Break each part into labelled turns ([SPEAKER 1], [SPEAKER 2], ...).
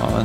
[SPEAKER 1] Ja,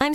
[SPEAKER 2] I'm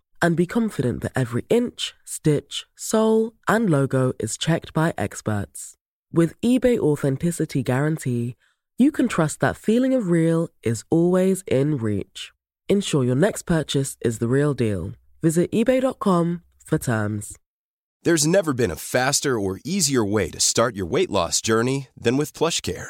[SPEAKER 3] and be confident that every inch, stitch, sole, and logo is checked by experts. With eBay Authenticity Guarantee, you can trust that feeling of real is always in reach. Ensure your next purchase is the real deal. Visit eBay.com for terms.
[SPEAKER 4] There's never been a faster or easier way to start your weight loss journey than with PlushCare.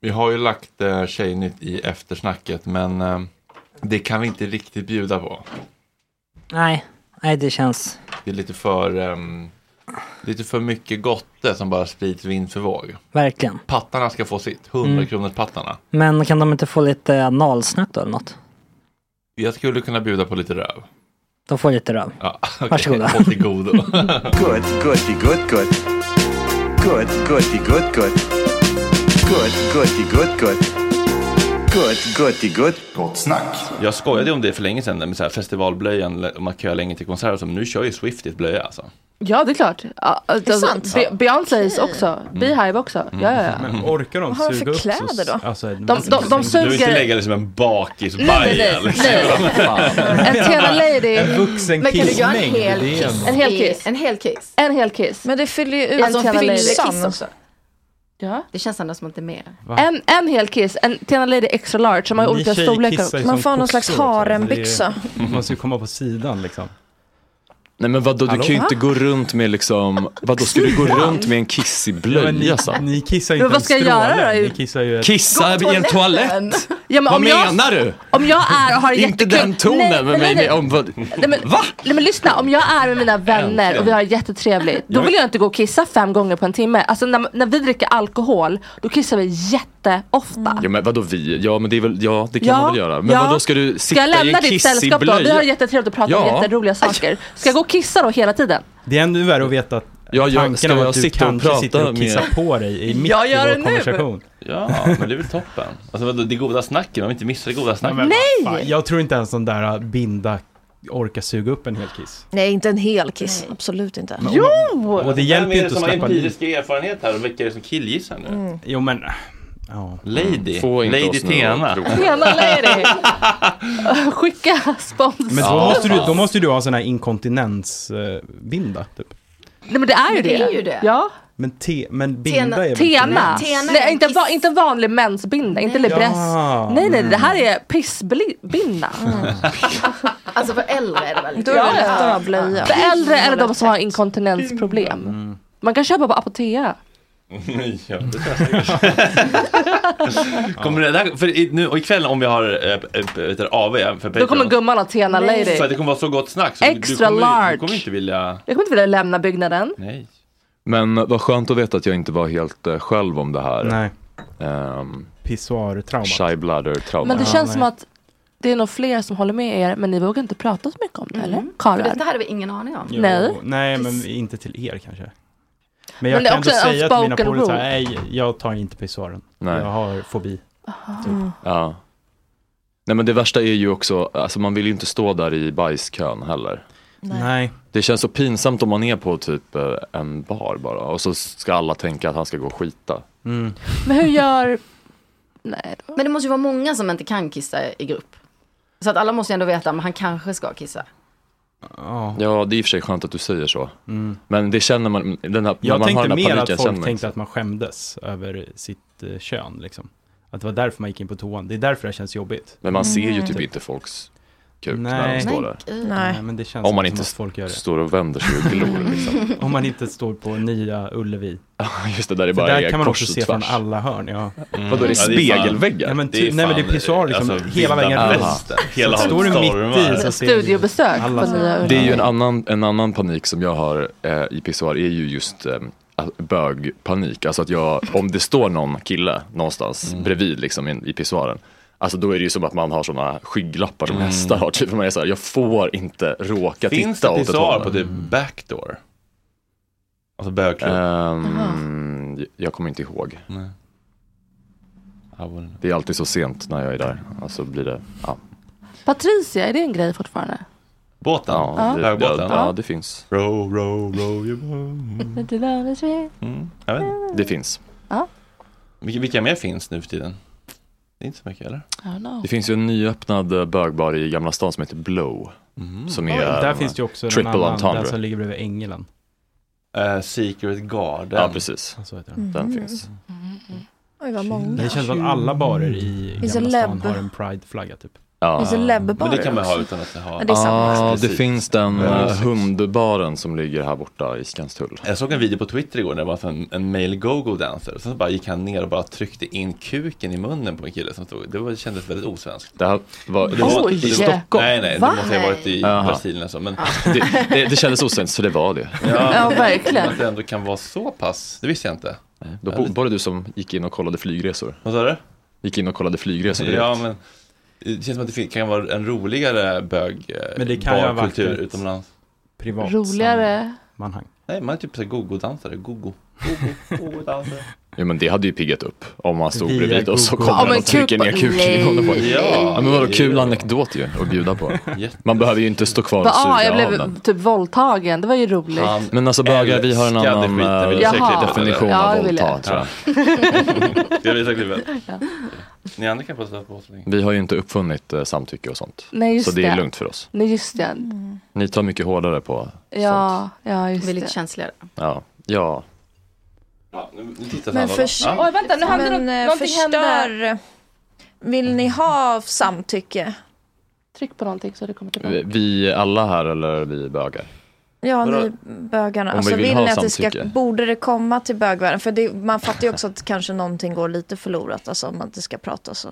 [SPEAKER 5] vi har ju lagt eh, Tjejnytt i eftersnacket, men eh, det kan vi inte riktigt bjuda på.
[SPEAKER 6] Nej, nej det känns...
[SPEAKER 5] Det är lite för, ehm, lite för mycket gotte som bara sprids vind för våg.
[SPEAKER 6] Verkligen.
[SPEAKER 5] Pattarna ska få sitt, 100 kronors pattarna.
[SPEAKER 6] Men kan de inte få lite analsnack då eller något?
[SPEAKER 5] Jag skulle kunna bjuda på lite röv.
[SPEAKER 6] De får lite röv.
[SPEAKER 5] Ja, okay.
[SPEAKER 6] Varsågoda.
[SPEAKER 5] Håll till godo.
[SPEAKER 7] Good, goody, good, good. Good, goody, good, good. Good, goody, good, good. Good, goody, good.
[SPEAKER 8] Gott snack.
[SPEAKER 1] Jag skojade ju om det för länge sedan med så här festivalblöjan, och man kör länge till konserter. Så, men nu kör ju Swift i ett blöja alltså.
[SPEAKER 9] Ja, det är klart. Ja, alltså,
[SPEAKER 10] sant?
[SPEAKER 9] Be- Beyoncés också.
[SPEAKER 11] Mm.
[SPEAKER 9] Beehive också. Ja, ja, ja.
[SPEAKER 12] Men orkar de
[SPEAKER 10] Vad har de
[SPEAKER 12] suga
[SPEAKER 10] för
[SPEAKER 12] upp så-
[SPEAKER 10] kläder då?
[SPEAKER 12] Alltså, de,
[SPEAKER 9] de- de
[SPEAKER 1] Du vill inte
[SPEAKER 9] Suger.
[SPEAKER 1] lägga dig som en
[SPEAKER 10] Nej,
[SPEAKER 1] bakisbaja.
[SPEAKER 10] nej,
[SPEAKER 1] liksom.
[SPEAKER 11] Mm.
[SPEAKER 9] En Tena Lady.
[SPEAKER 12] En vuxen
[SPEAKER 10] Men kan du göra en
[SPEAKER 12] kissmängd,
[SPEAKER 10] hel
[SPEAKER 12] det är
[SPEAKER 10] kiss?
[SPEAKER 12] ändå-
[SPEAKER 9] En hel kiss.
[SPEAKER 10] En hel kiss?
[SPEAKER 9] En hel kiss.
[SPEAKER 10] Men det fyller ju ut
[SPEAKER 9] Alltså, en
[SPEAKER 10] hela
[SPEAKER 9] fyllekiss
[SPEAKER 10] kiss också.
[SPEAKER 9] Ja.
[SPEAKER 10] Det känns ändå som att det är mer.
[SPEAKER 9] En, en hel kiss. En Tena Lady extra large. Som har
[SPEAKER 12] Ni
[SPEAKER 9] olika
[SPEAKER 12] tjejer
[SPEAKER 9] storlekar.
[SPEAKER 12] kissar ju
[SPEAKER 10] Man
[SPEAKER 12] som
[SPEAKER 10] får någon slags
[SPEAKER 12] kossor också,
[SPEAKER 10] harembyxa.
[SPEAKER 12] så det är- Man måste ju komma på sidan liksom.
[SPEAKER 11] Nej men vadå, du
[SPEAKER 12] Hallå?
[SPEAKER 11] kan ju inte gå runt med liksom, vadå ska du alltså? gå runt med en kissig blöja så?
[SPEAKER 12] Ni kissar ju
[SPEAKER 9] Men
[SPEAKER 12] inte
[SPEAKER 9] vad
[SPEAKER 12] en
[SPEAKER 9] ska jag göra
[SPEAKER 12] stråle,
[SPEAKER 9] då?
[SPEAKER 12] Ni kissar ju ett...
[SPEAKER 11] Kissa i en toalett?
[SPEAKER 9] Ja, men
[SPEAKER 11] Vad
[SPEAKER 9] om jag-
[SPEAKER 11] menar du?
[SPEAKER 9] Om jag är och har
[SPEAKER 11] Inte
[SPEAKER 9] jättekul.
[SPEAKER 11] den tonen
[SPEAKER 9] Nej,
[SPEAKER 11] med
[SPEAKER 9] nej,
[SPEAKER 11] mig.
[SPEAKER 9] nej.
[SPEAKER 11] med- Om, vad,
[SPEAKER 9] Nej men,
[SPEAKER 11] Va?
[SPEAKER 9] nej men lyssna, om jag är med mina vänner och vi har jättetrevligt, då vill jag inte gå och kissa fem gånger på en timme. Alltså när, när vi dricker alkohol, då kissar vi jätteofta.
[SPEAKER 10] Mm.
[SPEAKER 11] Ja men vadå vi? Ja men det, är väl, ja, det kan
[SPEAKER 9] Ja,
[SPEAKER 11] man väl göra. Men
[SPEAKER 9] ja.
[SPEAKER 11] vadå ska du
[SPEAKER 9] Ska
[SPEAKER 11] sitta
[SPEAKER 9] jag lämna
[SPEAKER 11] i en
[SPEAKER 9] ditt
[SPEAKER 11] kissig
[SPEAKER 9] sällskap då? Vi har
[SPEAKER 11] blöja?
[SPEAKER 9] jättetrevligt och pratar om
[SPEAKER 11] Ja.
[SPEAKER 9] jätteroliga saker. Ska jag gå och kissa då hela tiden?
[SPEAKER 12] Det är ännu värre att veta att
[SPEAKER 11] Ja, jag-
[SPEAKER 12] tanken
[SPEAKER 11] ska
[SPEAKER 12] om
[SPEAKER 11] jag
[SPEAKER 12] att du
[SPEAKER 11] sitta och
[SPEAKER 12] kanske
[SPEAKER 11] prata
[SPEAKER 12] sitter och kissar
[SPEAKER 11] med-
[SPEAKER 12] på dig i mitt
[SPEAKER 9] Jag gör
[SPEAKER 12] i
[SPEAKER 9] det
[SPEAKER 12] vår
[SPEAKER 9] nu.
[SPEAKER 12] konversation.
[SPEAKER 1] Ja, men det är väl toppen. Alltså vadå, det goda snacket, man vill inte missa det goda snacket.
[SPEAKER 12] Nej! Fan, jag tror inte ens de där äh, binda orkar suga upp en hel kiss.
[SPEAKER 10] Nej, inte en hel kiss. Absolut inte.
[SPEAKER 12] Jo! Och det hjälper ju inte att
[SPEAKER 1] Vem är det som
[SPEAKER 12] släppa
[SPEAKER 1] har
[SPEAKER 12] liv.
[SPEAKER 1] empirisk erfarenhet här och vilka är det som killgissar nu?
[SPEAKER 9] Mm.
[SPEAKER 12] Jo men, äh, ja.
[SPEAKER 1] Lady,
[SPEAKER 11] Mm. Få inte
[SPEAKER 1] Lady
[SPEAKER 11] oss nu att
[SPEAKER 1] Tena.
[SPEAKER 11] tro.
[SPEAKER 9] Tjena lady! Skicka spons.
[SPEAKER 12] Men då
[SPEAKER 1] Ja,
[SPEAKER 12] måste, du,
[SPEAKER 1] fan.
[SPEAKER 12] då måste du ha en sån här inkontinensbinda typ.
[SPEAKER 9] Nej men det är ju
[SPEAKER 10] Det
[SPEAKER 9] det.
[SPEAKER 10] är ju det.
[SPEAKER 9] Ja.
[SPEAKER 12] Men, te, men binda är väl
[SPEAKER 9] Tena.
[SPEAKER 10] Tena är
[SPEAKER 9] Nej,
[SPEAKER 10] en
[SPEAKER 9] inte,
[SPEAKER 10] kiss.
[SPEAKER 9] va, inte vanlig mensbinda, inte libress.
[SPEAKER 12] Ja.
[SPEAKER 9] Nej nej, det här är pissbinda.
[SPEAKER 10] Alltså för äldre är det väl?
[SPEAKER 9] Då är det lättare att
[SPEAKER 10] ha blöja.
[SPEAKER 9] För äldre eller de som har inkontinensproblem. Man kan köpa på Apotea.
[SPEAKER 1] Ja, det tror jag säkert. kommer det där, för i, nu, och ikväll om vi har äh, AV eh, för Patreon.
[SPEAKER 9] Då kommer gumman och Tena Lady.
[SPEAKER 1] För att det kommer vara så gott snack. Så du,
[SPEAKER 9] Extra
[SPEAKER 1] kommer,
[SPEAKER 9] large.
[SPEAKER 1] du kommer inte vilja...
[SPEAKER 9] Jag kommer inte vilja lämna byggnaden.
[SPEAKER 1] Nej.
[SPEAKER 11] Men vad skönt att veta att jag inte var helt eh, själv om det här.
[SPEAKER 12] Nej,
[SPEAKER 11] Ehm,
[SPEAKER 12] pissoar-trauma.
[SPEAKER 11] shy bladder trauma.
[SPEAKER 9] Men det
[SPEAKER 12] Ja,
[SPEAKER 9] känns
[SPEAKER 12] nej.
[SPEAKER 9] som att det är nog fler som håller med er men ni vågar inte prata så mycket om
[SPEAKER 10] Mm.
[SPEAKER 9] det eller? Karlar?
[SPEAKER 10] Detta hade vi ingen aning om.
[SPEAKER 12] Jo,
[SPEAKER 9] Nej.
[SPEAKER 12] Nej, men inte till er kanske. Men jag
[SPEAKER 9] Men det är
[SPEAKER 12] kan ändå
[SPEAKER 9] också en
[SPEAKER 12] säga till mina
[SPEAKER 9] outspoken
[SPEAKER 12] polare så här,
[SPEAKER 9] rule.
[SPEAKER 12] nej, jag tar inte pissoaren.
[SPEAKER 11] Nej.
[SPEAKER 12] Jag har fobi.
[SPEAKER 11] Ja. Nej men det värsta är ju också, alltså man vill ju inte stå där i bajskön heller.
[SPEAKER 12] Nej.
[SPEAKER 11] Det känns så pinsamt om man är på typ eh, en bar bara och så ska alla tänka att han ska gå och skita.
[SPEAKER 12] Mm.
[SPEAKER 9] Men hur gör... Nej då.
[SPEAKER 10] Men det måste ju vara många som inte kan kissa i grupp. Så att alla måste ju ändå veta att han kanske ska kissa.
[SPEAKER 12] Ja. Mm.
[SPEAKER 11] Ja det är i och för sig skönt att du säger så. Men det känner man, den här, när
[SPEAKER 12] Jag
[SPEAKER 11] man har
[SPEAKER 12] tänkte
[SPEAKER 11] den här
[SPEAKER 12] mer
[SPEAKER 11] paniken
[SPEAKER 12] att
[SPEAKER 11] känner liksom.
[SPEAKER 12] folk
[SPEAKER 11] man
[SPEAKER 12] tänkte att man skämdes över sitt eh, kön liksom. Att det var därför man gick in på toan. Det är därför det känns jobbigt.
[SPEAKER 11] Men man ser ju
[SPEAKER 9] Mm.
[SPEAKER 11] typ inte folks kuk när de
[SPEAKER 12] Mm. Nej.
[SPEAKER 11] står där.
[SPEAKER 10] gud.
[SPEAKER 12] Nej, men det känns
[SPEAKER 11] Om man
[SPEAKER 12] inte
[SPEAKER 11] inte
[SPEAKER 12] som att folk gör det.
[SPEAKER 11] Står och vänder sig och glor liksom.
[SPEAKER 12] Om man inte står på nya Ullevi.
[SPEAKER 11] Just det, där är
[SPEAKER 12] För
[SPEAKER 11] bara
[SPEAKER 12] där kan man
[SPEAKER 11] kors
[SPEAKER 12] också
[SPEAKER 11] och
[SPEAKER 12] se från
[SPEAKER 11] tvärs.
[SPEAKER 12] alla hörn. Ja.
[SPEAKER 11] Vadå, det är
[SPEAKER 1] Ja, det är fan-
[SPEAKER 11] spegelväggar?
[SPEAKER 12] Ja, men ty,
[SPEAKER 1] typ- Det
[SPEAKER 12] nej
[SPEAKER 1] är
[SPEAKER 12] men det är
[SPEAKER 1] fan,
[SPEAKER 12] pissoar liksom
[SPEAKER 1] alltså,
[SPEAKER 12] hela vägen
[SPEAKER 1] vilda
[SPEAKER 12] väst.
[SPEAKER 1] västern. Hela
[SPEAKER 12] Står du mitt i så ser du-
[SPEAKER 9] Studiobesök
[SPEAKER 12] alla
[SPEAKER 9] på nya
[SPEAKER 11] Det är
[SPEAKER 9] Ullevi.
[SPEAKER 11] ju en annan, en annan panik som jag har eh, i pissoar är ju just eh, att- bögpanik. Alltså att jag, om det står någon kille någonstans
[SPEAKER 1] Mm.
[SPEAKER 11] bredvid liksom i, i pissoaren. Alltså då är det ju som att man har sådana skygglappar som hästar har. Typ. Man är så här, jag får inte råka
[SPEAKER 1] Mm. Finns
[SPEAKER 11] titta
[SPEAKER 1] det
[SPEAKER 11] åt ett
[SPEAKER 1] pissoar
[SPEAKER 11] håll.
[SPEAKER 1] på typ backdoor? Alltså bögklubb?
[SPEAKER 11] Ehm, j- jag kommer inte ihåg.
[SPEAKER 1] Nej. I wouldn't.
[SPEAKER 11] Det är alltid så sent när jag är där. Alltså blir det, ja.
[SPEAKER 9] Patricia, är det en grej fortfarande?
[SPEAKER 1] Båten?
[SPEAKER 11] Ja, det, ja,
[SPEAKER 1] Bögbåten?
[SPEAKER 11] ja, det finns.
[SPEAKER 1] Row, row, row your boat. Mm. Jag vet inte.
[SPEAKER 11] Det finns.
[SPEAKER 1] Vilka, vilka mer finns nu för tiden? Det är inte så mycket eller?
[SPEAKER 9] I don't know.
[SPEAKER 11] Det finns ju en nyöppnad eh, bögbar i Gamla stan som heter Blow.
[SPEAKER 1] Mm.
[SPEAKER 11] Som är,
[SPEAKER 12] Där
[SPEAKER 11] eh,
[SPEAKER 12] finns det ju också en
[SPEAKER 11] triple
[SPEAKER 12] annan,
[SPEAKER 11] entendre.
[SPEAKER 12] den som ligger bredvid Ängelen.
[SPEAKER 1] Eh, Secret Garden.
[SPEAKER 11] Ja, precis.
[SPEAKER 12] Så heter den.
[SPEAKER 11] Den finns.
[SPEAKER 10] Oj, vad
[SPEAKER 12] Men
[SPEAKER 10] många.
[SPEAKER 12] Alltså, det känns som att alla barer
[SPEAKER 1] Mm.
[SPEAKER 12] i
[SPEAKER 10] Finns det
[SPEAKER 12] Gamla stan
[SPEAKER 10] lebb?
[SPEAKER 12] har en prideflagga typ.
[SPEAKER 11] Ja.
[SPEAKER 1] Men det kan man ha utan att ha.
[SPEAKER 10] Ja, det är samma.
[SPEAKER 11] Ja, Ah, det
[SPEAKER 1] Precis.
[SPEAKER 11] finns den
[SPEAKER 1] Ja,
[SPEAKER 11] eh,
[SPEAKER 1] precis.
[SPEAKER 11] hundbaren som ligger här borta i Skanstull.
[SPEAKER 1] Jag såg en video på Twitter igår när det var en, en male go-go dancer. Sen så bara gick han ner och bara tryckte in kuken i munnen på en kille som stod. Det var, det kändes väldigt osvenskt.
[SPEAKER 11] Det här var, det,
[SPEAKER 1] Det var,
[SPEAKER 11] var,
[SPEAKER 9] Oj.
[SPEAKER 1] det var,
[SPEAKER 9] Stockholm?
[SPEAKER 1] Nej, nej, det
[SPEAKER 9] Va?
[SPEAKER 1] måste ha varit i
[SPEAKER 11] Aha.
[SPEAKER 1] Brasilien alltså. Men
[SPEAKER 11] det, det, det kändes osent så det var det.
[SPEAKER 9] Ja,
[SPEAKER 1] att
[SPEAKER 9] verkligen.
[SPEAKER 1] det ändå kan vara så pass, det visste jag inte.
[SPEAKER 11] Då bo- var det du som gick in och kollade flygresor.
[SPEAKER 1] Vad sa du?
[SPEAKER 11] Gick in och kollade flygresor direkt.
[SPEAKER 1] Ja, men det känns som att det fin- kan vara en roligare bög eh,
[SPEAKER 12] Men det kan ju ha varit
[SPEAKER 1] barkultur
[SPEAKER 12] ett-
[SPEAKER 1] utomlands.
[SPEAKER 12] Privat
[SPEAKER 9] Roligare.
[SPEAKER 12] sammanhang.
[SPEAKER 1] Nej, man är typ såhär gogo-dansare, gogo. Gogo, gogo-dansare.
[SPEAKER 11] Ja men det hade ju piggat upp om man stod
[SPEAKER 12] Via
[SPEAKER 11] bredvid oss och
[SPEAKER 12] Google.
[SPEAKER 11] kommer
[SPEAKER 12] Ja, men
[SPEAKER 11] någon och trycker
[SPEAKER 12] kuk-
[SPEAKER 11] ner kuken i honom.
[SPEAKER 9] Nej.
[SPEAKER 11] Ja, men vadå kul anekdot ju att bjuda på. Man behöver ju inte stå kvar och
[SPEAKER 9] Bara, ah,
[SPEAKER 11] suga
[SPEAKER 9] jag
[SPEAKER 11] av
[SPEAKER 9] blev
[SPEAKER 11] den.
[SPEAKER 9] typ våldtagen, det var ju roligt.
[SPEAKER 11] Men alltså bögar, vi har en
[SPEAKER 1] älskade
[SPEAKER 11] annan
[SPEAKER 1] skiten, vill
[SPEAKER 11] eh,
[SPEAKER 1] jag säga
[SPEAKER 9] Jaha.
[SPEAKER 1] klippet, eller?
[SPEAKER 11] definition
[SPEAKER 9] Ja,
[SPEAKER 11] av
[SPEAKER 9] det vill jag.
[SPEAKER 11] våldta tror jag.
[SPEAKER 1] Ska jag visa klippet?
[SPEAKER 9] Ja.
[SPEAKER 1] Ni andra kan få sätta på så länge.
[SPEAKER 11] Vi har ju inte uppfunnit eh, samtycke och sånt.
[SPEAKER 9] Nej, just
[SPEAKER 11] så det är
[SPEAKER 9] det.
[SPEAKER 11] lugnt för oss.
[SPEAKER 9] Nej just det.
[SPEAKER 8] Mm.
[SPEAKER 11] Ni tar mycket hårdare på,
[SPEAKER 9] Ja, ja just
[SPEAKER 10] Vi är
[SPEAKER 9] det.
[SPEAKER 10] lite känsligare.
[SPEAKER 11] ja. ja.
[SPEAKER 8] Men förs-
[SPEAKER 9] Oj, vänta, nu
[SPEAKER 8] men,
[SPEAKER 9] hände något-
[SPEAKER 8] eh,
[SPEAKER 9] någonting
[SPEAKER 8] förstör... Vill ni ha samtycke?
[SPEAKER 9] Tryck på någonting så det kommer
[SPEAKER 11] Vi- Vi alla här eller vi bögar?
[SPEAKER 8] Ja,
[SPEAKER 11] Vadå?
[SPEAKER 8] ni bögarna.
[SPEAKER 11] Om vi
[SPEAKER 8] Alltså,
[SPEAKER 11] vill
[SPEAKER 8] vill
[SPEAKER 11] ha
[SPEAKER 8] ni att det ska,
[SPEAKER 11] samtycke?
[SPEAKER 8] borde det komma till bögvärlden? För det, man fattar ju också att kanske någonting går lite förlorat, alltså om man inte ska prata så.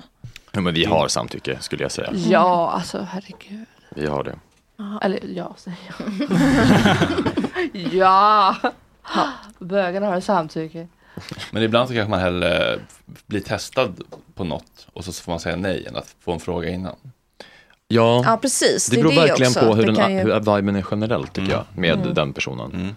[SPEAKER 11] Ja, men vi har samtycke skulle jag säga.
[SPEAKER 9] Ja, alltså herregud.
[SPEAKER 11] Vi har det.
[SPEAKER 9] Eller ja, säger jag. ja! Bögarna har samtycke.
[SPEAKER 1] Men ibland så kanske man hellre blir testad på något och så får man säga nej än att få en fråga innan.
[SPEAKER 11] Ja,
[SPEAKER 8] Ja, precis.
[SPEAKER 11] det
[SPEAKER 8] Det är
[SPEAKER 11] beror
[SPEAKER 8] det
[SPEAKER 11] verkligen
[SPEAKER 8] också,
[SPEAKER 11] på
[SPEAKER 8] att
[SPEAKER 11] hur,
[SPEAKER 8] det
[SPEAKER 11] den,
[SPEAKER 8] kan ju-
[SPEAKER 11] hur viben är generellt tycker jag med
[SPEAKER 8] Mm.
[SPEAKER 11] den personen.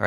[SPEAKER 13] All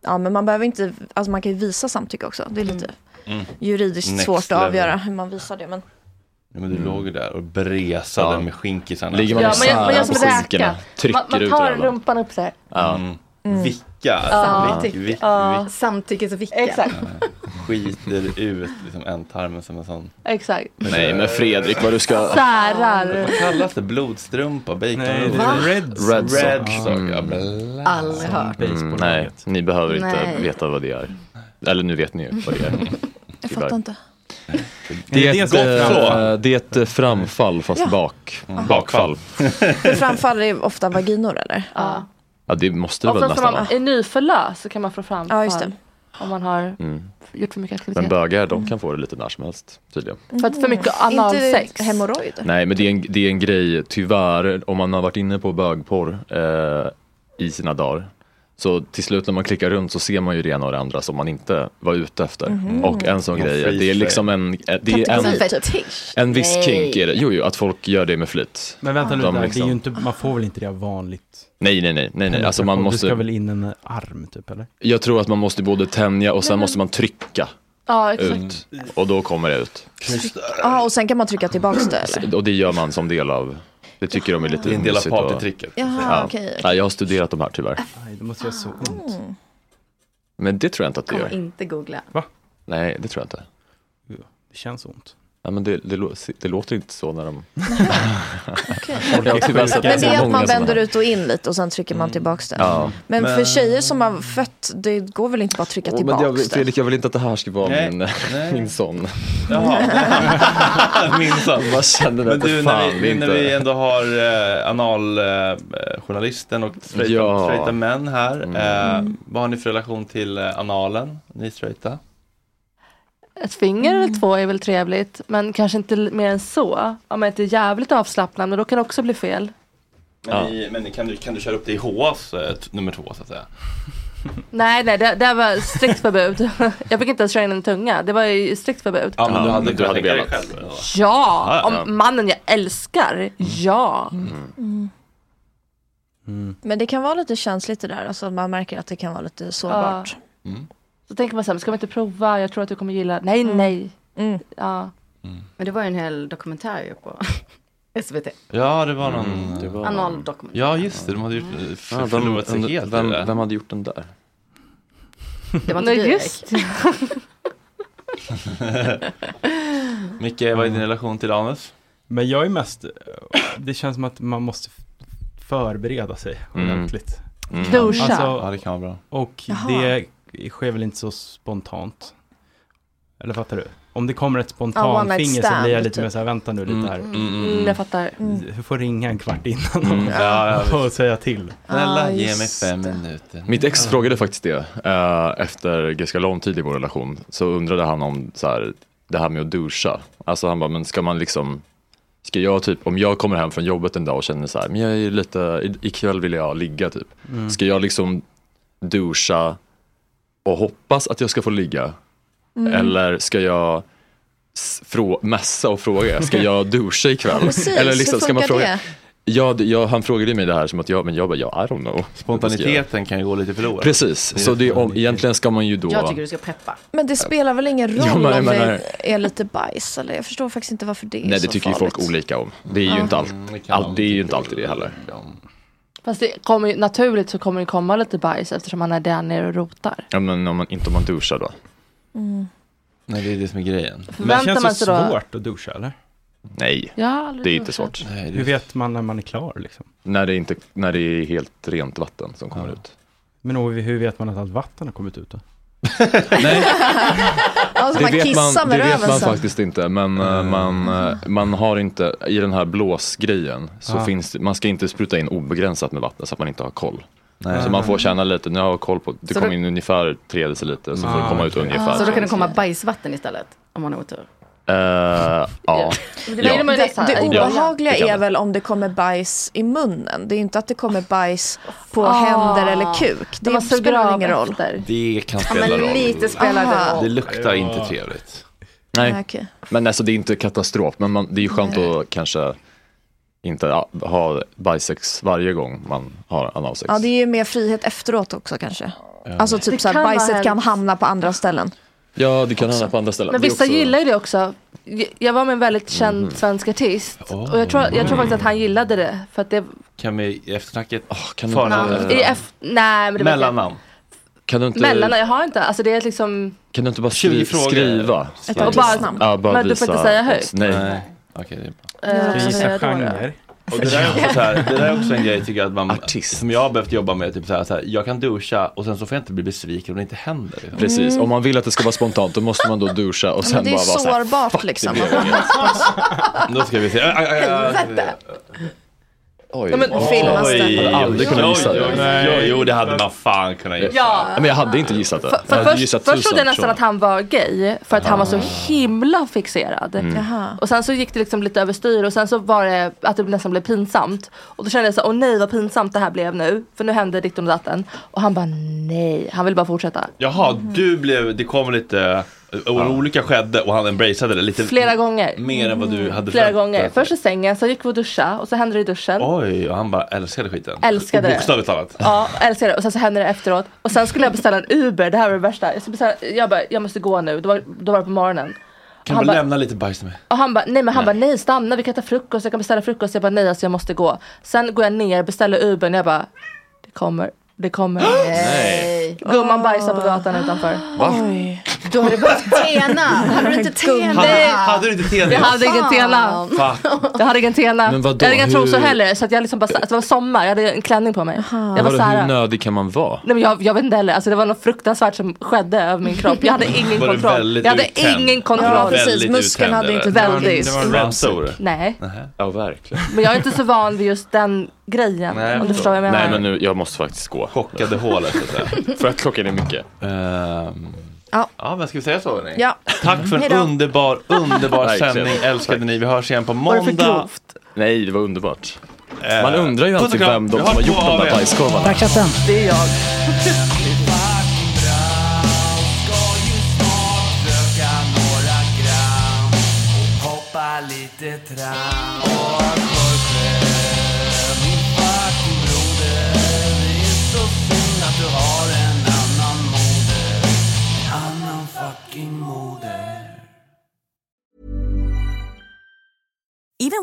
[SPEAKER 8] Ja, men man behöver inte, alltså man kan ju visa samtycke också. Det är lite
[SPEAKER 1] Mm.
[SPEAKER 8] juridiskt
[SPEAKER 1] Next
[SPEAKER 8] svårt
[SPEAKER 1] level.
[SPEAKER 8] att avgöra hur man visar det. Men...
[SPEAKER 1] Ja, men du låg ju där och bresade med skinkisarna.
[SPEAKER 11] Mm. Ligger man Ja, och men jag- men jag särar som på räka. skinkorna,
[SPEAKER 10] Man, man tar rumpan upp så här.
[SPEAKER 11] Ja.
[SPEAKER 10] Mm.
[SPEAKER 1] Vickar.
[SPEAKER 10] Ja.
[SPEAKER 1] Vick, vick,
[SPEAKER 10] Ja.
[SPEAKER 1] vick,
[SPEAKER 10] Samtyckesvicka. Exakt.
[SPEAKER 1] skiter ut liksom ändtarmen som en sån.
[SPEAKER 9] Exakt.
[SPEAKER 11] Nej men Fredrik vad du ska...
[SPEAKER 9] Särar.
[SPEAKER 1] Vad kallas det? Blodstrumpa? Bacon?
[SPEAKER 12] Nej, det är Va? red Mm-hmm. sock.
[SPEAKER 11] Red sock.
[SPEAKER 1] Red sock, ja,
[SPEAKER 11] Mm.
[SPEAKER 10] Aldrig hört.
[SPEAKER 11] Mm, nej, ni behöver inte
[SPEAKER 10] Nej.
[SPEAKER 11] veta vad det är. Eller nu vet ni ju vad det är.
[SPEAKER 8] Jag fattar inte.
[SPEAKER 11] Det är,
[SPEAKER 12] Det är
[SPEAKER 11] ett,
[SPEAKER 12] gott så.
[SPEAKER 11] eh, det är ett eh, framfall fast
[SPEAKER 8] Ja.
[SPEAKER 11] bak. Bakfall.
[SPEAKER 8] För framfall är ofta vaginor eller?
[SPEAKER 9] Ja.
[SPEAKER 11] Ja det måste det
[SPEAKER 9] Och
[SPEAKER 11] väl
[SPEAKER 9] sen
[SPEAKER 11] nästan
[SPEAKER 9] som man
[SPEAKER 11] vara.
[SPEAKER 9] är nyförlöst så kan man få fram
[SPEAKER 8] Ja, just
[SPEAKER 9] fall Om man har
[SPEAKER 11] Mm.
[SPEAKER 9] gjort för mycket aktivitet.
[SPEAKER 11] Men bögar de kan få det lite när som helst tydligen.
[SPEAKER 9] För att för mycket analsex. Inte
[SPEAKER 8] hemorrojder.
[SPEAKER 11] Nej men det är, en, det är en grej, tyvärr, om man har varit inne på bögporr eh, i sina dagar. Så till slut när man klickar runt så ser man ju det ena och det andra som man inte var ute efter.
[SPEAKER 8] Mm.
[SPEAKER 12] Mm.
[SPEAKER 10] Mhm.
[SPEAKER 11] Och en sån
[SPEAKER 10] Någon
[SPEAKER 11] grej,
[SPEAKER 10] freestyle.
[SPEAKER 11] det är liksom en, eh, det är en,
[SPEAKER 10] Kategori, fetisch.
[SPEAKER 11] en viss
[SPEAKER 10] Nej.
[SPEAKER 11] kink är det. Jo, jo, att folk gör det med flit.
[SPEAKER 12] Men vänta nu,
[SPEAKER 11] De
[SPEAKER 12] där, det är
[SPEAKER 11] liksom-
[SPEAKER 12] ju inte, man får väl inte det av vanligt?
[SPEAKER 11] Nej, nej, nej, nej, nej. Alltså man
[SPEAKER 12] Det ska
[SPEAKER 11] måste,
[SPEAKER 12] väl in en arm typ eller?
[SPEAKER 11] jag tror att man måste både tänja och sen måste man trycka
[SPEAKER 8] Mm. Ja,
[SPEAKER 11] ut. Och då kommer det ut.
[SPEAKER 8] Ja, och sen kan man trycka tillbaks det eller?
[SPEAKER 11] Och det gör man som del av, det tycker de är lite
[SPEAKER 1] Det är en del av
[SPEAKER 11] mysigt och-
[SPEAKER 1] partytricket.
[SPEAKER 8] Jaha,
[SPEAKER 11] Ja.
[SPEAKER 8] okej.
[SPEAKER 11] Nej, jag har studerat de här tyvärr.
[SPEAKER 12] Nej, det måste göra så ont.
[SPEAKER 11] Men det tror jag inte att det
[SPEAKER 10] Kommer
[SPEAKER 11] gör.
[SPEAKER 10] inte googla.
[SPEAKER 11] Nej, det tror jag inte.
[SPEAKER 12] Det känns ont.
[SPEAKER 11] Ja, men det, det, lå- det låter inte så när de... Jag har Mm.
[SPEAKER 8] Men
[SPEAKER 11] tyvärr sett
[SPEAKER 8] det
[SPEAKER 11] så
[SPEAKER 8] är att
[SPEAKER 11] många
[SPEAKER 8] man
[SPEAKER 11] sådana
[SPEAKER 8] vänder
[SPEAKER 11] här.
[SPEAKER 8] ut och in lite och sen trycker man tillbaks det.
[SPEAKER 10] mm.
[SPEAKER 11] Ja.
[SPEAKER 8] Men, för
[SPEAKER 11] Men-
[SPEAKER 8] tjejer som har fött, det går väl inte bara att trycka
[SPEAKER 11] Åh, men
[SPEAKER 8] tillbaks
[SPEAKER 11] jag,
[SPEAKER 8] det?
[SPEAKER 11] Fredrik, jag vill inte att det här ska vara
[SPEAKER 1] Nej,
[SPEAKER 11] min, min son.
[SPEAKER 1] Min son.
[SPEAKER 11] Vad känner du
[SPEAKER 1] Men
[SPEAKER 11] att det
[SPEAKER 1] du, när
[SPEAKER 11] fan
[SPEAKER 1] vi,
[SPEAKER 11] inte...
[SPEAKER 1] när vi ändå har eh, analjournalisten och straighta,
[SPEAKER 11] Ja.
[SPEAKER 1] straighta män här. Eh,
[SPEAKER 9] Mm.
[SPEAKER 1] vad har ni för relation till eh, analen, ni straighta?
[SPEAKER 9] Ett finger
[SPEAKER 8] Mm.
[SPEAKER 9] eller två är väl trevligt. Men kanske inte l- mer än så. Om man inte är jävligt avslappnad. Men då kan det också bli fel.
[SPEAKER 1] Men,
[SPEAKER 9] Ja.
[SPEAKER 1] i, men kan, du, kan du köra upp det i HAs eh, t- nummer två så att säga?
[SPEAKER 9] Nej, nej, det, det var strikt förbud. Jag fick inte ens köra in en tunga. Det var ju strikt förbud.
[SPEAKER 1] Ja, men du hade, du hade velat.
[SPEAKER 9] Ja,
[SPEAKER 1] Ja, ja.
[SPEAKER 9] om mannen jag älskar. Ja.
[SPEAKER 8] Mm.
[SPEAKER 1] Mm.
[SPEAKER 8] Men det kan vara lite känsligt det där, alltså man märker att det kan vara lite sårbart.
[SPEAKER 1] Mm.
[SPEAKER 9] Så tänker man så här, ska man inte prova? Jag tror att du kommer gilla. Nej,
[SPEAKER 8] Mm.
[SPEAKER 9] nej. Ja.
[SPEAKER 1] Mm.
[SPEAKER 10] Men det var ju en hel dokumentär ju på SVT.
[SPEAKER 1] Ja, det var någon...
[SPEAKER 11] Mm, det var-
[SPEAKER 10] Analdokumentär.
[SPEAKER 1] Ja, just det. De hade gjort, mm.
[SPEAKER 11] Ja, vem-
[SPEAKER 1] förlorat sig
[SPEAKER 11] vem-
[SPEAKER 1] helt i
[SPEAKER 11] vem-
[SPEAKER 1] det.
[SPEAKER 11] vem hade gjort den där?
[SPEAKER 10] Det var inte
[SPEAKER 9] Nej,
[SPEAKER 10] du,
[SPEAKER 9] just
[SPEAKER 10] Erik.
[SPEAKER 1] Micke, vad är din relation till Anus?
[SPEAKER 12] Men jag är mest, det känns som att man måste förbereda sig
[SPEAKER 1] Mm.
[SPEAKER 12] ordentligt. Alltså,
[SPEAKER 1] Mm. Duscha. Ja, det kan vara bra.
[SPEAKER 12] Och
[SPEAKER 1] Jaha.
[SPEAKER 12] det sker väl inte så spontant. Eller fattar du? Om det kommer ett
[SPEAKER 9] Ja, one
[SPEAKER 12] spontant
[SPEAKER 9] night
[SPEAKER 12] finger så
[SPEAKER 9] stand,
[SPEAKER 12] blir jag lite
[SPEAKER 9] typ.
[SPEAKER 12] mer så här, vänta nu lite här.
[SPEAKER 9] Mm, jag fattar.
[SPEAKER 12] Du får ringa en kvart innan
[SPEAKER 11] Mm. Ja, ja,
[SPEAKER 12] och säga till.
[SPEAKER 1] Snälla, ge mig fem minuter.
[SPEAKER 11] Mitt ex frågade faktiskt det eh, efter ganska lång tid i vår relation. Så undrade han om så här, det här med att duscha. Alltså han bara, men ska man liksom, ska jag typ, om jag kommer hem från jobbet en dag och känner så här, men jag är lite, i- ikväll vill jag ligga typ.
[SPEAKER 12] Mm.
[SPEAKER 11] Ska jag liksom duscha och hoppas att jag ska få ligga?
[SPEAKER 8] Mm.
[SPEAKER 11] Eller ska jag s- frå- messa och fråga, ska jag duscha ikväll?
[SPEAKER 8] Precis,
[SPEAKER 11] Eller liksom,
[SPEAKER 8] hur funkar det?
[SPEAKER 11] Ja, det- ja, han frågade mig det här som att jag, men jag bara, ja, I don't know.
[SPEAKER 1] Spontaniteten kan ju gå lite förlorad.
[SPEAKER 11] Precis, så det är om, egentligen ska man ju då...
[SPEAKER 10] Jag tycker du ska preppa.
[SPEAKER 8] Men det spelar väl ingen roll
[SPEAKER 11] Ja, men jag
[SPEAKER 8] om
[SPEAKER 11] menar-
[SPEAKER 8] det är lite bajs eller jag förstår faktiskt inte varför det är
[SPEAKER 11] Nej, det
[SPEAKER 8] så
[SPEAKER 11] tycker ju
[SPEAKER 8] farligt.
[SPEAKER 11] folk olika om. Det är ju
[SPEAKER 8] Ja.
[SPEAKER 11] inte, allt, allt, Mm, det, typ är ju inte alltid det heller.
[SPEAKER 9] Fast det kommer ju, naturligt så kommer det komma lite bajs eftersom han är där nere och rotar.
[SPEAKER 11] Ja, men om man, inte om man duschar då.
[SPEAKER 1] Nej, det är det som är grejen.
[SPEAKER 9] Förväntar
[SPEAKER 12] känns
[SPEAKER 9] man
[SPEAKER 12] det
[SPEAKER 9] sig då-
[SPEAKER 12] svårt att duscha eller?
[SPEAKER 11] Nej,
[SPEAKER 9] Jag har aldrig
[SPEAKER 11] det är inte
[SPEAKER 9] duschat.
[SPEAKER 11] svårt.
[SPEAKER 12] Hur vet man när man är klar liksom?
[SPEAKER 11] När det, inte, när det är helt rent vatten som kommer ut.
[SPEAKER 12] Men och hur vet man att allt vatten har kommit ut då?
[SPEAKER 8] Alltså, man
[SPEAKER 11] vet
[SPEAKER 8] kissar
[SPEAKER 11] man,
[SPEAKER 8] med
[SPEAKER 11] det vet man
[SPEAKER 8] röven sen.
[SPEAKER 11] faktiskt inte, men eh, man, eh, man har inte, i den här blåsgrejen, så
[SPEAKER 12] Ah.
[SPEAKER 11] finns det, man ska inte spruta in obegränsat med vatten så att man inte har koll.
[SPEAKER 1] Nej.
[SPEAKER 11] Så man får känna lite, nu har jag koll på, det
[SPEAKER 10] Så
[SPEAKER 11] kommer
[SPEAKER 10] då-
[SPEAKER 11] in ungefär tre deciliter, så får det
[SPEAKER 12] Ah,
[SPEAKER 11] komma ut
[SPEAKER 12] okej.
[SPEAKER 11] ungefär.
[SPEAKER 10] Så då kan
[SPEAKER 11] tre
[SPEAKER 10] det komma bajsvatten istället. Om man har otur.
[SPEAKER 11] Eh, ja.
[SPEAKER 8] Det, det
[SPEAKER 11] Ja,
[SPEAKER 8] obehagliga
[SPEAKER 11] det kan
[SPEAKER 8] är
[SPEAKER 11] man.
[SPEAKER 8] väl om det kommer bajs i munnen. Det är ju inte att det kommer bajs på
[SPEAKER 9] Ah.
[SPEAKER 8] händer eller kuk.
[SPEAKER 9] När
[SPEAKER 8] Det
[SPEAKER 9] man suger
[SPEAKER 8] spelar
[SPEAKER 9] av
[SPEAKER 8] ingen roll.
[SPEAKER 1] Det kan
[SPEAKER 8] men
[SPEAKER 1] spela roll.
[SPEAKER 8] lite spelar det
[SPEAKER 1] Aha.
[SPEAKER 8] roll.
[SPEAKER 1] Det luktar inte
[SPEAKER 11] Ja.
[SPEAKER 1] trevligt.
[SPEAKER 11] Nej,
[SPEAKER 8] Nej, okej.
[SPEAKER 11] men alltså det är inte katastrof, men man, det är ju skönt att kanske inte ja, ha bajsex varje gång man har analsex.
[SPEAKER 8] Ja, det är ju mer frihet efteråt också kanske. Alltså
[SPEAKER 9] Det
[SPEAKER 8] typ så här,
[SPEAKER 9] kan vara
[SPEAKER 8] bajset kan
[SPEAKER 9] hemskt.
[SPEAKER 8] hamna på andra ställen.
[SPEAKER 11] Ja, det kan hända på andra ställen.
[SPEAKER 9] Men
[SPEAKER 11] Det är också-
[SPEAKER 9] vissa
[SPEAKER 11] Mm.
[SPEAKER 9] gillar ju det också. Jag- Jag var med en väldigt känd svensk artist. Och jag tror, jag tror faktiskt att han gillade det. För att det
[SPEAKER 1] Kan vi i eftersnacket
[SPEAKER 11] Ah, kan
[SPEAKER 9] namn,
[SPEAKER 11] Äh.
[SPEAKER 9] i F, nej, men det var
[SPEAKER 1] Mellannamn.
[SPEAKER 11] Kan du
[SPEAKER 9] inte- Mellan, jag har inte, alltså det är liksom,
[SPEAKER 11] Kan du inte bara
[SPEAKER 1] 20
[SPEAKER 11] skri
[SPEAKER 1] frågor.
[SPEAKER 11] skriva?
[SPEAKER 1] Ett artistnamn.
[SPEAKER 11] Ja, bara
[SPEAKER 9] Men du
[SPEAKER 11] visa
[SPEAKER 9] får inte säga högt.
[SPEAKER 11] oss. Nej.
[SPEAKER 1] Nej. Okej, det är bra.
[SPEAKER 9] eh,
[SPEAKER 12] Ska vi
[SPEAKER 9] vad
[SPEAKER 12] gissa
[SPEAKER 9] är det då?
[SPEAKER 12] genre?
[SPEAKER 1] Och det, där är också så här, det där är också en grej tycker jag att man, som jag har behövt jobba med. Typ så här, så här, jag kan duscha och sen så får jag inte bli besviken om det inte händer. liksom.
[SPEAKER 11] Precis, om man vill att det ska vara spontant då måste man då duscha och
[SPEAKER 8] Mm. Ja,
[SPEAKER 11] sen
[SPEAKER 8] men det är
[SPEAKER 11] bara vara så här,
[SPEAKER 8] sårbart
[SPEAKER 11] "Fuck, det
[SPEAKER 8] liksom.
[SPEAKER 11] blev inget."
[SPEAKER 1] Då ska vi se. Aj, aj, aj, aj.
[SPEAKER 11] Oj.
[SPEAKER 9] Ja, men filmas det?
[SPEAKER 11] Jag hade aldrig kunnat gissa
[SPEAKER 1] Oj, oj, oj, oj,
[SPEAKER 11] det.
[SPEAKER 1] Jo, det hade man fan kunnat gissa.
[SPEAKER 9] Ja.
[SPEAKER 11] Men jag hade inte gissat det. jag
[SPEAKER 9] För
[SPEAKER 11] hade
[SPEAKER 9] först,
[SPEAKER 11] gissat
[SPEAKER 9] först trodde
[SPEAKER 11] tusen
[SPEAKER 9] jag nästan
[SPEAKER 11] personer.
[SPEAKER 9] att han var gay för att han var så himla fixerad.
[SPEAKER 11] Mm.
[SPEAKER 9] Och sen så gick det liksom lite överstyr och sen så var det att det nästan blev pinsamt. Och då kände jag så här, åh nej vad pinsamt det här blev nu. För nu hände ditten och datten. Och han bara nej, han vill bara fortsätta.
[SPEAKER 1] Jaha,
[SPEAKER 9] Mhm.
[SPEAKER 1] du blev, det kom lite, och en olycka skedde och han embraceade det lite
[SPEAKER 9] Flera gånger. Mm.
[SPEAKER 1] mer än vad du hade
[SPEAKER 9] Flera
[SPEAKER 1] förväntat
[SPEAKER 9] gånger.
[SPEAKER 1] dig.
[SPEAKER 9] Först i sängen, sen gick vi och duscha och så hände det i duschen.
[SPEAKER 1] Oj, och han bara älskade skiten.
[SPEAKER 9] Älskade det.
[SPEAKER 1] Bokstavligt talat.
[SPEAKER 9] Ja, älskar det. Och sen så hände det efteråt. Och sen skulle jag beställa en Uber, det här var det värsta. Jag, skulle beställa, jag bara, jag måste gå nu. Då var, då var det på morgonen. Och
[SPEAKER 1] Kan
[SPEAKER 9] han
[SPEAKER 1] du
[SPEAKER 9] bara-
[SPEAKER 1] lämna lite bajs till mig?
[SPEAKER 9] Och han bara, nej men han bara, nej stanna vi kan ta frukost, jag kan beställa frukost. Jag bara, nej alltså jag måste gå. Sen går jag ner, beställer Ubern, jag bara, det kommer, det kommer.
[SPEAKER 11] Nej.
[SPEAKER 9] Gumman bajsar på gatan utanför.
[SPEAKER 11] Va?
[SPEAKER 9] Då har det börjat
[SPEAKER 10] Tena! Hade du inte tena?
[SPEAKER 1] Hade, hade du inte tenit?
[SPEAKER 9] Eh, Jag hade ingen tena.
[SPEAKER 1] Fan.
[SPEAKER 9] Jag hade ingen tena.
[SPEAKER 11] Men vadå,
[SPEAKER 9] jag hade inga
[SPEAKER 11] hur-
[SPEAKER 9] trosor heller. Så att jag liksom bara, det var sommar, jag hade en klänning på mig. Jag var
[SPEAKER 11] Vadå, Hur
[SPEAKER 9] såhär,
[SPEAKER 11] nödig kan man vara?
[SPEAKER 9] nej men jag, jag vet inte heller. Alltså det var något fruktansvärt som skedde över min kropp. Jag hade ingen
[SPEAKER 11] Var du
[SPEAKER 9] kontroll.
[SPEAKER 11] väldigt
[SPEAKER 9] Jag hade
[SPEAKER 11] uttänd?
[SPEAKER 9] ingen kontroll.
[SPEAKER 11] Ja, precis. Väldigt Muskeln uttänd, hade eller? inte-
[SPEAKER 9] Väldigt.
[SPEAKER 11] Det var en ramsor.
[SPEAKER 9] Nej.
[SPEAKER 11] Ja, verkligen.
[SPEAKER 9] Men jag är inte så van vid just den grejen. om du förstår vad jag menar.
[SPEAKER 11] Nej, men nu, jag måste faktiskt gå.
[SPEAKER 1] Chockade hålet. Så att säga.
[SPEAKER 11] För att klockan är mycket.
[SPEAKER 9] Eh.
[SPEAKER 8] Ja.
[SPEAKER 1] ja, men ska vi säga så? hörni?
[SPEAKER 8] Ja.
[SPEAKER 1] Tack för en
[SPEAKER 8] Hejdå.
[SPEAKER 1] underbar, underbar
[SPEAKER 11] Verkligen.
[SPEAKER 1] sändning älskade ni. Vi hörs igen på
[SPEAKER 11] Var det för
[SPEAKER 1] måndag. Eh,
[SPEAKER 11] Nej, det var underbart.
[SPEAKER 9] Eh.
[SPEAKER 11] Man undrar ju alltid vem de som har gjort de där bajskorvarna.
[SPEAKER 6] Tack chatten.
[SPEAKER 9] Det är jag.
[SPEAKER 14] Hoppa lite tram och Jorge, min fucking broder Det är så synd att du har en annan moder En annan fucking moder
[SPEAKER 15] Even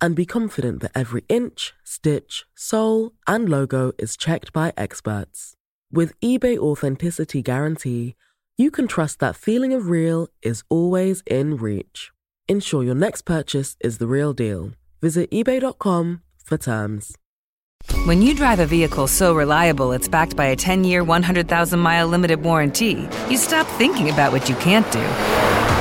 [SPEAKER 3] and be confident that every inch, stitch, sole, and logo is checked by experts. With eBay Authenticity Guarantee, you can trust that feeling of real is always in reach. Ensure your next purchase is the real deal. Visit eBay.com for terms.
[SPEAKER 16] When you drive a vehicle so reliable it's backed by a 10 year, 100,000 mile limited warranty, you stop thinking about what you can't do